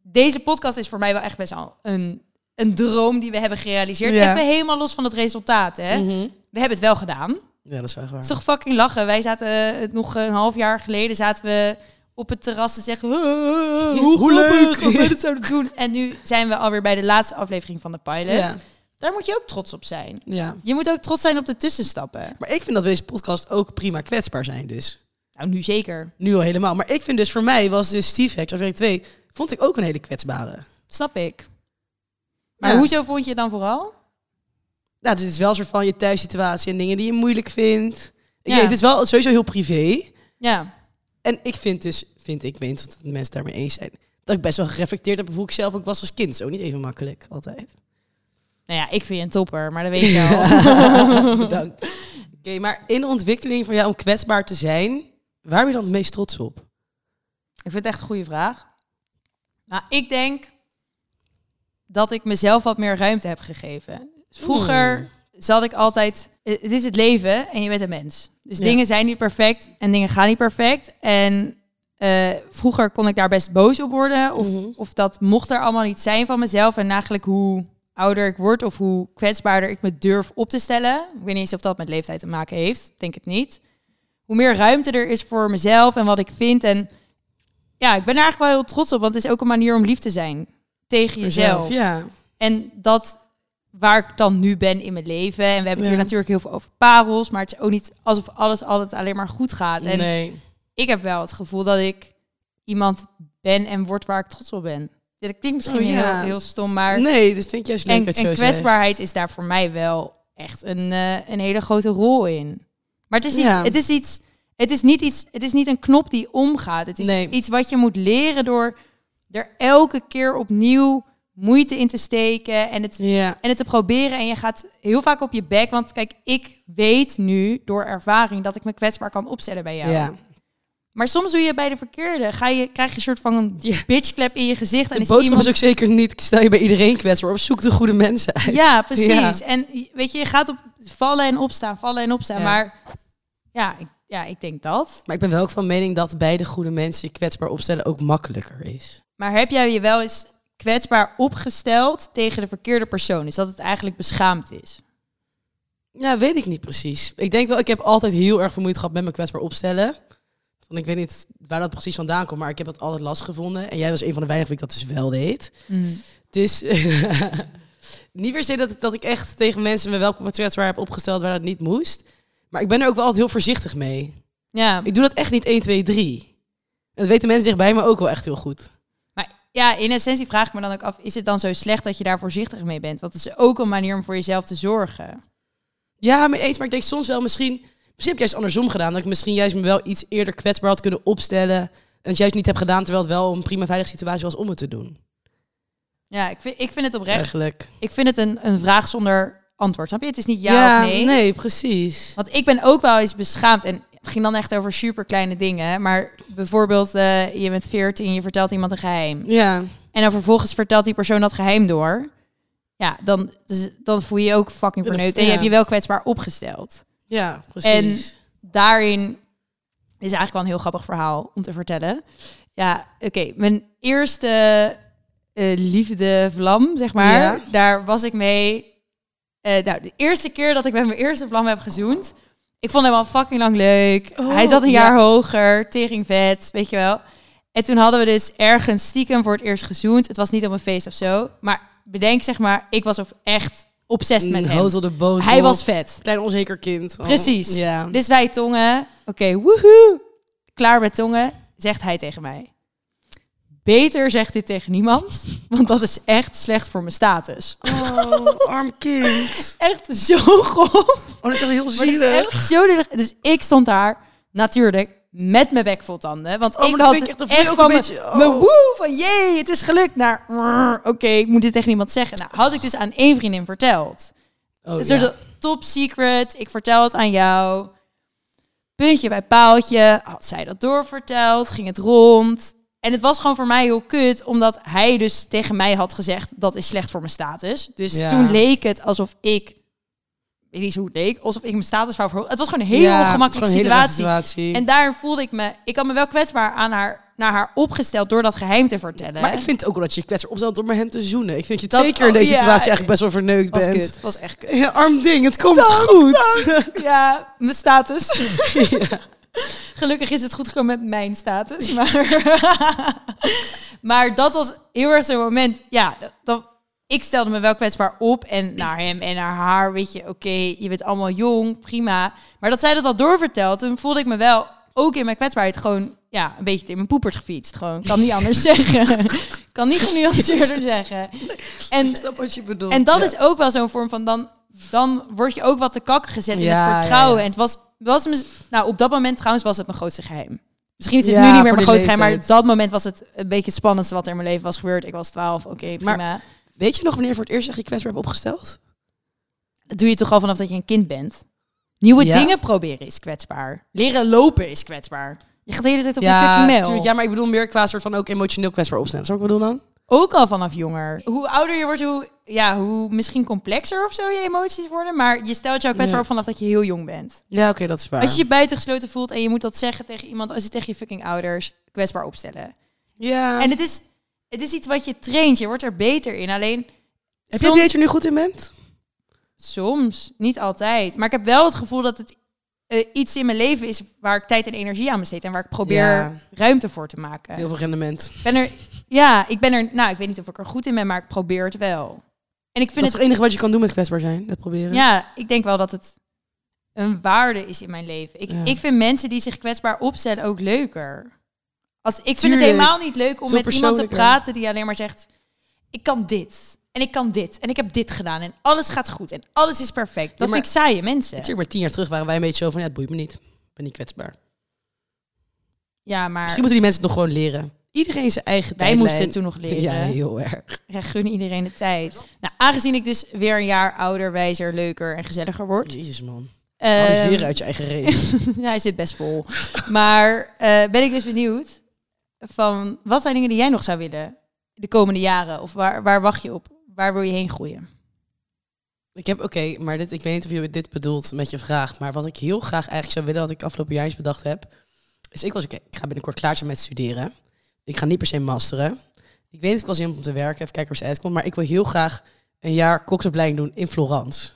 Speaker 6: Deze podcast is voor mij wel echt best wel een, een droom die we hebben gerealiseerd.
Speaker 5: Ja. Mhm.
Speaker 6: Even helemaal los van het resultaat, hè. We hebben het wel gedaan. Het
Speaker 5: Ja, dat is wel echt waar.
Speaker 6: is toch fucking lachen. Wij zaten eh, nog een half jaar geleden zaten we op het terras en zeggen... Hoe,
Speaker 5: Hoe
Speaker 6: grappig,
Speaker 5: leuk."
Speaker 6: we gaan dit zouden
Speaker 5: [laughs]
Speaker 6: doen. En nu zijn we alweer bij de laatste aflevering van de pilot.
Speaker 5: Ja.
Speaker 6: Daar moet je ook trots op zijn.
Speaker 5: Ja.
Speaker 6: Je moet ook trots zijn op de tussenstappen.
Speaker 5: Maar ik vind dat we deze podcast ook prima kwetsbaar zijn dus.
Speaker 6: Nou, nu zeker.
Speaker 5: Nu al helemaal. Maar ik vind dus voor mij was dus Steve Hacks, aflevering 2, vond ik ook een hele kwetsbare.
Speaker 6: Snap ik. Maar
Speaker 5: Ja.
Speaker 6: hoezo vond je het dan vooral?
Speaker 5: Nou, dit is wel een soort van je thuissituatie en dingen die je moeilijk vindt. Ik
Speaker 6: Ja.
Speaker 5: weet, het is wel sowieso heel privé.
Speaker 6: Ja.
Speaker 5: En ik vind dus, vind ik, ik weet niet of de mensen daarmee eens zijn, dat ik best wel gereflecteerd heb op hoe ik zelf ook was als kind. Zo niet even makkelijk, altijd. [laughs]
Speaker 6: Nou ja, ik vind je een topper, maar dat weet je al.
Speaker 5: Bedankt. Oké, maar in de ontwikkeling van jou om kwetsbaar te zijn, waar ben je dan het meest trots op?
Speaker 6: Ik vind het echt een goede vraag. Nou, ik denk dat ik mezelf wat meer ruimte heb gegeven. Vroeger zat ik altijd... eh, Het is het leven en je bent een mens. Dus
Speaker 5: Ja.
Speaker 6: dingen zijn niet perfect en dingen gaan niet perfect. En eh, vroeger kon ik daar best boos op worden. Of,
Speaker 5: Mhm.
Speaker 6: of dat mocht er allemaal niet zijn van mezelf. En eigenlijk hoe ouder ik word of hoe kwetsbaarder ik me durf op te stellen. Ik weet niet eens of dat met leeftijd te maken heeft. Ik denk het niet. Hoe meer ruimte er is voor mezelf en wat ik vind. En ja, ik ben er eigenlijk wel heel trots op. Want het is ook een manier om lief te zijn tegen jezelf.
Speaker 5: Ja.
Speaker 6: En dat waar ik dan nu ben in mijn leven. En we hebben het
Speaker 5: Ja.
Speaker 6: hier natuurlijk heel veel over parels. Maar het is ook niet alsof alles altijd alleen maar goed gaat. En
Speaker 5: nee.
Speaker 6: ik heb wel het gevoel dat ik iemand ben en word waar ik trots op ben. Ja, dat klinkt misschien
Speaker 5: Oh, ja.
Speaker 6: heel, heel stom, maar
Speaker 5: Nee, dat vind ik juist leuk
Speaker 6: en,
Speaker 5: dat je
Speaker 6: en
Speaker 5: zo zegt.
Speaker 6: kwetsbaarheid is daar voor mij wel echt een, eh, een hele grote rol in. Maar het is, iets,
Speaker 5: Ja.
Speaker 6: het is iets, het is niet iets, het is niet een knop die omgaat. Het is
Speaker 5: Nee.
Speaker 6: iets wat je moet leren door er elke keer opnieuw moeite in te steken en het
Speaker 5: Ja.
Speaker 6: en het te proberen. En je gaat heel vaak op je bek. Want kijk, ik weet nu door ervaring dat ik me kwetsbaar kan opstellen bij jou.
Speaker 5: Ja.
Speaker 6: Maar soms doe je het bij de verkeerde. Ga je, krijg je een soort van een bitchclap in je gezicht. En
Speaker 5: De
Speaker 6: is
Speaker 5: boodschap
Speaker 6: iemand...
Speaker 5: is ook zeker niet, stel je bij iedereen kwetsbaar op, zoek de goede
Speaker 6: [laughs]
Speaker 5: mensen uit.
Speaker 6: Ja, precies.
Speaker 5: Ja.
Speaker 6: En weet je, je gaat op vallen en opstaan, vallen en opstaan.
Speaker 5: Ja.
Speaker 6: Maar ja ik, ja, ik denk dat.
Speaker 5: Maar ik ben wel ook van mening dat bij de goede mensen je kwetsbaar opstellen ook makkelijker is.
Speaker 6: Maar heb jij je wel eens kwetsbaar opgesteld tegen de verkeerde persoon? Is dat het eigenlijk beschaamd is?
Speaker 5: Ja, weet ik niet precies. Ik denk wel, ik heb altijd heel erg vermoeid gehad met mijn kwetsbaar opstellen. Want ik weet niet waar dat precies vandaan komt, maar ik heb dat altijd last gevonden. En jij was een van de weinigen die ik dat dus wel deed. Dus [laughs] niet per se dat ik, dat ik echt tegen mensen me wel kwetsbaar heb opgesteld waar dat niet moest. Maar ik ben er ook wel altijd heel voorzichtig mee.
Speaker 6: Ja.
Speaker 5: Ik doe dat echt niet 1, 2, 3. En dat weten mensen dichtbij me ook wel echt heel goed.
Speaker 6: Maar ja, in essentie vraag ik me dan ook af: is het dan zo slecht dat je daar voorzichtig mee bent? Want het is ook een manier om voor jezelf te zorgen.
Speaker 5: Ja, mee eens. Maar ik denk soms wel misschien... Misschien heb ik juist andersom gedaan. Dat ik misschien juist me wel iets eerder kwetsbaar had kunnen opstellen. En het juist niet heb gedaan, terwijl het wel een prima veilige situatie was om het te doen.
Speaker 6: Ja, ik vind, ik vind het oprecht.
Speaker 5: Eigenlijk.
Speaker 6: Ik vind het een, een vraag zonder antwoord. Snap je? Het is niet ja, of nee.
Speaker 5: precies.
Speaker 6: Want ik ben ook wel eens beschaamd. En het ging dan echt over super kleine dingen. Maar bijvoorbeeld, eh, je bent 14, je vertelt iemand een geheim.
Speaker 5: Ja.
Speaker 6: En dan vervolgens vertelt die persoon dat geheim door. Ja, dan, dus dan voel je je ook fucking
Speaker 5: Ja, dat-
Speaker 6: verneukt. En je
Speaker 5: ja.
Speaker 6: hebt je wel kwetsbaar opgesteld.
Speaker 5: Ja, precies.
Speaker 6: daarin is eigenlijk wel een heel grappig verhaal om te vertellen. Ja, oké. Mijn eerste eh, liefde vlam, zeg maar.
Speaker 5: Ja.
Speaker 6: Daar was ik mee. eh, nou, de eerste keer dat ik met mijn eerste vlam heb gezoend. Ik vond hem al fucking lang leuk.
Speaker 5: Oh,
Speaker 6: Hij zat een
Speaker 5: ja.
Speaker 6: jaar hoger, tering vet, weet je wel. En toen hadden we dus ergens stiekem voor het eerst gezoend. Het was niet op een feest of zo. Maar bedenk zeg maar, ik was op- echt obsessed met
Speaker 5: Een
Speaker 6: hem.
Speaker 5: Mm, hotel de boot.
Speaker 6: Hij was vet.
Speaker 5: Klein onzeker kind. Oh,
Speaker 6: Precies.
Speaker 5: Ja.
Speaker 6: Dus wij tongen. Oké, woehoe. Klaar met tongen, zegt hij tegen mij. Beter zegt dit tegen niemand, want dat is echt slecht voor mijn status.
Speaker 5: Oh, arm
Speaker 6: [laughs]
Speaker 5: kind.
Speaker 6: Echt zo grof.
Speaker 5: Oh, dat is wel heel
Speaker 6: Maar dat is
Speaker 5: zielig.
Speaker 6: echt zo zielig. Dus ik stond daar, natuurlijk, met mijn bek vol tanden. Want
Speaker 5: Oh,
Speaker 6: ik
Speaker 5: maar dat
Speaker 6: had
Speaker 5: vind ik echt- dat
Speaker 6: echt,
Speaker 5: vind ik ook
Speaker 6: van
Speaker 5: een
Speaker 6: mijn,
Speaker 5: beetje- oh.
Speaker 6: mijn woe, van jee, het is gelukt, naar "Rrr, oké, ik moet dit tegen niemand zeggen. Nou, had ik dus aan één vriendin verteld.
Speaker 5: Oh,
Speaker 6: Een soort
Speaker 5: ja.
Speaker 6: top secret. Ik vertel het aan jou. Puntje bij paaltje. Had zij dat doorverteld? Ging het rond? En het was gewoon voor mij heel kut, omdat hij dus tegen mij had gezegd: dat is slecht voor mijn status. Dus
Speaker 5: Ja.
Speaker 6: toen leek het alsof ik. Ik weet niet eens hoe het leek. Alsof ik mijn status wou verhogen. Het was gewoon een hele
Speaker 5: Ja, het is
Speaker 6: ongemakkelijke
Speaker 5: gewoon een hele rare
Speaker 6: situatie.
Speaker 5: situatie.
Speaker 6: En daar voelde ik me. Ik had me wel kwetsbaar aan haar, naar haar opgesteld door dat geheim te vertellen.
Speaker 5: Maar ik vind ook wel dat je je kwetsbaar opstelt door met hem te zoenen. Ik vind dat je
Speaker 6: Dat-
Speaker 5: twee keer in deze
Speaker 6: oh, ja.
Speaker 5: situatie eigenlijk best wel verneukt
Speaker 6: was
Speaker 5: bent.
Speaker 6: kut. was echt kut.
Speaker 5: Ja, [laughs] arm ding, het komt goed.
Speaker 6: Ja, mijn status. Gelukkig is het goed gekomen met mijn status. Maar, [laughs] maar dat was heel erg zo'n moment. Ja, dat, dat- ik stelde me wel kwetsbaar op. En naar hem en naar haar, weet je, oké, je bent allemaal jong, prima. Maar dat zij dat had doorverteld, toen voelde ik me wel, ook in mijn kwetsbaarheid, gewoon ja, een beetje in mijn poepert gefietst. Gewoon, kan niet anders zeggen. kan niet genuanceerder zeggen. En
Speaker 5: snap wat je bedoelt.
Speaker 6: en dat is ook wel zo'n vorm van dan, dan word je ook wat te kakken gezet in
Speaker 5: Ja,
Speaker 6: het vertrouwen.
Speaker 5: ja, ja.
Speaker 6: En het was, was mis- nou op dat moment trouwens was het mijn grootste geheim. Misschien is het
Speaker 5: Ja,
Speaker 6: nu niet meer
Speaker 5: voor
Speaker 6: mijn
Speaker 5: die
Speaker 6: grootste geheim, maar op
Speaker 5: leeftijd.
Speaker 6: dat moment was het een beetje het spannendste wat er in mijn leven was gebeurd. Ik was 12, oké, prima.
Speaker 5: Weet je nog wanneer je voor het eerst echt je kwetsbaar hebt opgesteld?
Speaker 6: dat doe je toch al vanaf dat je een kind bent. Nieuwe
Speaker 5: Ja.
Speaker 6: dingen proberen is kwetsbaar. Leren lopen is kwetsbaar. Je gaat de hele tijd op je fucking mail.
Speaker 5: tuurlijk. ja, maar ik bedoel meer qua soort van ook emotioneel kwetsbaar opstellen. Zou ik bedoel dan?
Speaker 6: Ook al vanaf jonger. Hoe ouder je wordt, hoe, ja, hoe misschien complexer of zo je emoties worden. Maar je stelt jou kwetsbaar
Speaker 5: Ja.
Speaker 6: op vanaf dat je heel jong bent.
Speaker 5: Ja, oké, dat is waar.
Speaker 6: Als je je buitengesloten voelt en je moet dat zeggen tegen iemand, als je tegen je fucking ouders kwetsbaar opstellen.
Speaker 5: ja.
Speaker 6: En het is, het is iets wat je traint, je wordt er beter in. Alleen
Speaker 5: Heb je
Speaker 6: soms,
Speaker 5: het idee dat je er nu goed in bent?
Speaker 6: soms, niet altijd. Maar ik heb wel het gevoel dat het eh, iets in mijn leven is waar ik tijd en energie aan besteed en waar ik probeer
Speaker 5: Ja.
Speaker 6: ruimte voor te maken.
Speaker 5: Heel veel rendement.
Speaker 6: Ik ben er, ja, ik ben er, nou, ik weet niet of ik er goed in ben, maar ik probeer het wel. En ik
Speaker 5: Dat
Speaker 6: vind het
Speaker 5: is het enige wat je kan doen met kwetsbaar zijn. Dat proberen.
Speaker 6: Ja, ik denk wel dat het een waarde is in mijn leven. Ik,
Speaker 5: Ja.
Speaker 6: ik vind mensen die zich kwetsbaar opstellen ook leuker. Als, ik vind het
Speaker 5: Tuurlijk.
Speaker 6: helemaal niet leuk om
Speaker 5: Veel
Speaker 6: met iemand te
Speaker 5: persoonlijker.
Speaker 6: praten die alleen maar zegt... Ik kan dit. En ik kan dit. En ik heb dit gedaan. En alles gaat goed. En alles is perfect. Dat
Speaker 5: maar-
Speaker 6: vind ik saaie mensen.
Speaker 5: Natuurlijk, maar tien jaar terug waren wij een beetje zo van, ja, het boeit me niet. Ik ben niet kwetsbaar.
Speaker 6: Ja, maar
Speaker 5: Misschien moeten die mensen het nog gewoon leren. Iedereen zijn eigen
Speaker 6: wij
Speaker 5: tijdlijn.
Speaker 6: moesten het toen nog leren.
Speaker 5: [laughs] Ja, heel erg.
Speaker 6: Ja, gun iedereen de tijd. Nou, aangezien ik dus weer een jaar ouder, wijzer, leuker en gezelliger word...
Speaker 5: Jezus, man. Haal
Speaker 6: eh,
Speaker 5: eens Oh, weer uit je eigen race.
Speaker 6: [laughs] Ja, hij zit best vol. Maar eh, ben ik dus benieuwd van wat zijn dingen die jij nog zou willen de komende jaren? Of waar, waar wacht je op? Waar wil je heen groeien?
Speaker 5: Ik heb, oké, maar dit, ik weet niet of je dit bedoelt met je vraag. Maar wat ik heel graag eigenlijk zou willen, wat ik afgelopen jaar eens bedacht heb. Is ik was, oké, ik ga binnenkort klaar zijn met studeren. Ik ga niet per se masteren. Ik weet niet of ik wel zin heb om te werken. Even kijken waar ze uitkomt. Maar ik wil heel graag een jaar koksopleiding doen in Florence.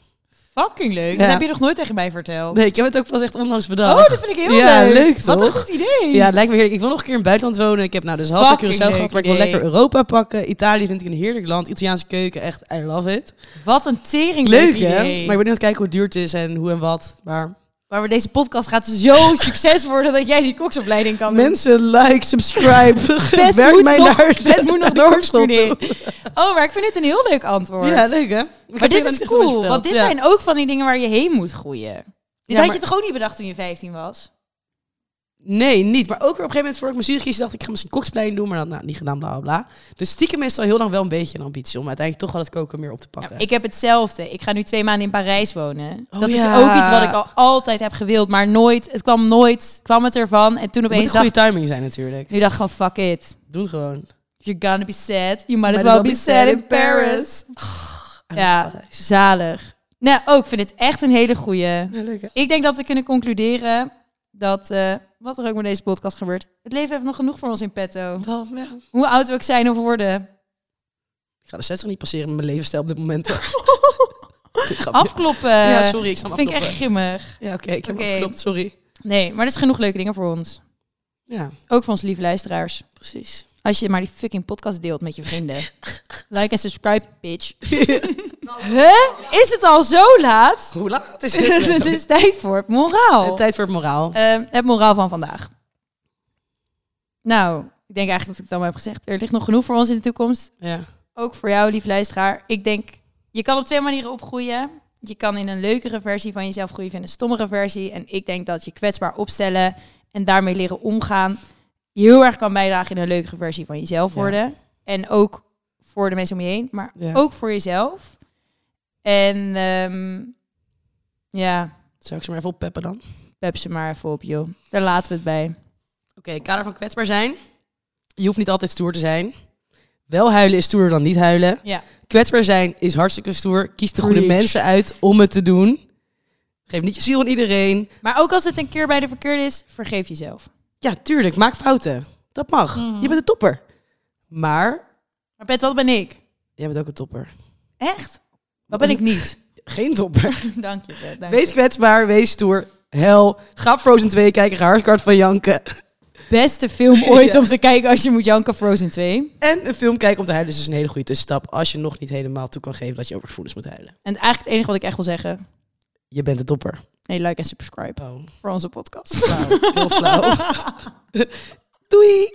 Speaker 6: Fucking leuk.
Speaker 5: Ja.
Speaker 6: Dat heb je nog nooit tegen mij verteld.
Speaker 5: Nee, ik heb het ook pas echt onlangs bedacht.
Speaker 6: Oh, dat vind ik heel
Speaker 5: Ja,
Speaker 6: leuk.
Speaker 5: leuk,
Speaker 6: Wat een
Speaker 5: toch?
Speaker 6: goed idee.
Speaker 5: Ja, het lijkt me heerlijk. Ik wil nog een keer in het buitenland wonen. Ik heb nou dus half een
Speaker 6: Fucking
Speaker 5: Curaçao
Speaker 6: leuk
Speaker 5: gehad, maar ik wil
Speaker 6: idee.
Speaker 5: lekker Europa pakken. Italië vind ik een heerlijk land. Italiaanse keuken, echt, I love it.
Speaker 6: Wat een tering leuk,
Speaker 5: Leuk, hè? Maar
Speaker 6: idee.
Speaker 5: ik ben niet aan het kijken hoe duur het is en hoe en wat. Maar
Speaker 6: Maar we- deze podcast gaat [laughs] zo succes worden dat jij die koksopleiding kan doen.
Speaker 5: mensen, like,
Speaker 6: [laughs]
Speaker 5: subscribe. [laughs]
Speaker 6: Bert
Speaker 5: Werk
Speaker 6: moet
Speaker 5: mij
Speaker 6: nog-
Speaker 5: naar
Speaker 6: Bert moet nog
Speaker 5: [laughs] naar de kokschool toe.
Speaker 6: doorstuderen. Oh, maar ik vind dit een heel leuk antwoord.
Speaker 5: Ja, leuk, hè? Ik
Speaker 6: Maar dit
Speaker 5: heb helemaal
Speaker 6: is
Speaker 5: niet echt
Speaker 6: cool,
Speaker 5: verteld.
Speaker 6: want dit
Speaker 5: Ja.
Speaker 6: zijn ook van die dingen waar je heen moet groeien. Dit
Speaker 5: Ja,
Speaker 6: had je
Speaker 5: maar-
Speaker 6: toch ook niet bedacht toen je 15 was?
Speaker 5: Nee, niet. Maar ook weer op een gegeven moment, voor ik mijn studie kies, dacht ik, ik ga misschien koksplein doen, maar dat nou, niet gedaan, bla, bla, bla. Dus stiekem is het al heel lang wel een beetje een ambitie om uiteindelijk toch wel het koken meer op te pakken.
Speaker 6: Nou, ik heb hetzelfde. Ik ga nu twee maanden in Parijs wonen.
Speaker 5: Oh,
Speaker 6: dat
Speaker 5: ja.
Speaker 6: is ook iets wat ik al altijd heb gewild, maar nooit. Het kwam nooit, kwam het ervan. En toen
Speaker 5: het moet een
Speaker 6: opeens
Speaker 5: goede
Speaker 6: dacht
Speaker 5: timing zijn natuurlijk.
Speaker 6: nu dacht ik gewoon fuck it.
Speaker 5: Doe het gewoon.
Speaker 6: If you're gonna be sad, you might as well be sad in Paris.
Speaker 5: Ah,
Speaker 6: Ja, zalig. Nou, ook vind het echt een hele goeie.
Speaker 5: Ja, leuk, hè?
Speaker 6: Ik denk dat we kunnen concluderen dat, eh, wat er ook met deze podcast gebeurt, het leven heeft nog genoeg voor ons in petto.
Speaker 5: Wel, ja.
Speaker 6: Hoe oud we ook zijn of [laughs] worden.
Speaker 5: Ik ga de 60 niet passeren met mijn levensstijl op dit moment.
Speaker 6: [laughs]
Speaker 5: Grapje.
Speaker 6: Afkloppen.
Speaker 5: Ja, sorry, ik snap
Speaker 6: Vind ik echt
Speaker 5: afkloppen.
Speaker 6: grimmig.
Speaker 5: Ja, oké, ik heb
Speaker 6: Oké.
Speaker 5: afgeklopt, sorry.
Speaker 6: Nee, maar dat is genoeg leuke dingen voor ons.
Speaker 5: Ja,
Speaker 6: Ook voor onze lieve luisteraars. [laughs]
Speaker 5: precies.
Speaker 6: Als je maar die fucking podcast deelt met je vrienden.
Speaker 5: [laughs]
Speaker 6: like en subscribe, bitch. huh? Is het al zo laat? [laughs]
Speaker 5: Hoe laat is
Speaker 6: het [laughs] is tijd voor het moraal.
Speaker 5: Tijd voor het moraal.
Speaker 6: Ehm, het moraal van vandaag. Nou, ik denk eigenlijk dat ik het allemaal heb gezegd. Er ligt nog genoeg voor ons in de toekomst.
Speaker 5: Ja.
Speaker 6: Ook voor jou, lieve luisteraar. Ik denk, je kan op twee manieren opgroeien. Je kan in een leukere versie van jezelf groeien, in een stommere versie. En ik denk dat je kwetsbaar opstellen en daarmee leren omgaan... je heel erg kan bijdragen in een leukere versie van jezelf
Speaker 5: Ja.
Speaker 6: worden. En ook voor de mensen om je heen, maar
Speaker 5: Ja.
Speaker 6: ook voor jezelf. En ehm, ja,
Speaker 5: Zou ik ze maar even oppeppen dan? Oké,
Speaker 6: pep ze maar even op, joh. Daar laten we het bij.
Speaker 5: kader van kwetsbaar zijn. Je hoeft niet altijd stoer te zijn. Wel huilen is stoerder dan niet huilen.
Speaker 6: Ja.
Speaker 5: Kwetsbaar zijn is hartstikke stoer. Kies de goede
Speaker 6: Preach.
Speaker 5: mensen uit om het te doen. Geef niet je ziel aan iedereen.
Speaker 6: Maar ook als het een keer bij de verkeerde is, vergeef jezelf.
Speaker 5: Ja, tuurlijk, maak fouten. Dat mag.
Speaker 6: Mhm.
Speaker 5: Je bent een topper. Maar,
Speaker 6: Maar Pet, wat ben ik?
Speaker 5: jij bent ook een topper.
Speaker 6: Echt? [laughs] Wat ben ik niet?
Speaker 5: [laughs] Geen topper.
Speaker 6: dank je, Pet. Dank je.
Speaker 5: Wees kwetsbaar, wees stoer. hel. Ga Frozen 2 kijken, ga Harskart van janken.
Speaker 6: Beste film ooit
Speaker 5: [laughs] Ja.
Speaker 6: om te kijken als je moet janken Frozen 2.
Speaker 5: En een film kijken om te huilen. Dus is een hele goede tussenstap. Als je nog niet helemaal toe kan geven dat je over gevoelens moet huilen.
Speaker 6: En eigenlijk het enige wat ik echt wil zeggen.
Speaker 5: Je bent een topper.
Speaker 6: Nee, like en subscribe
Speaker 5: Oh,
Speaker 6: voor onze podcast.
Speaker 5: flauw. Heel flauw. [laughs] Doei!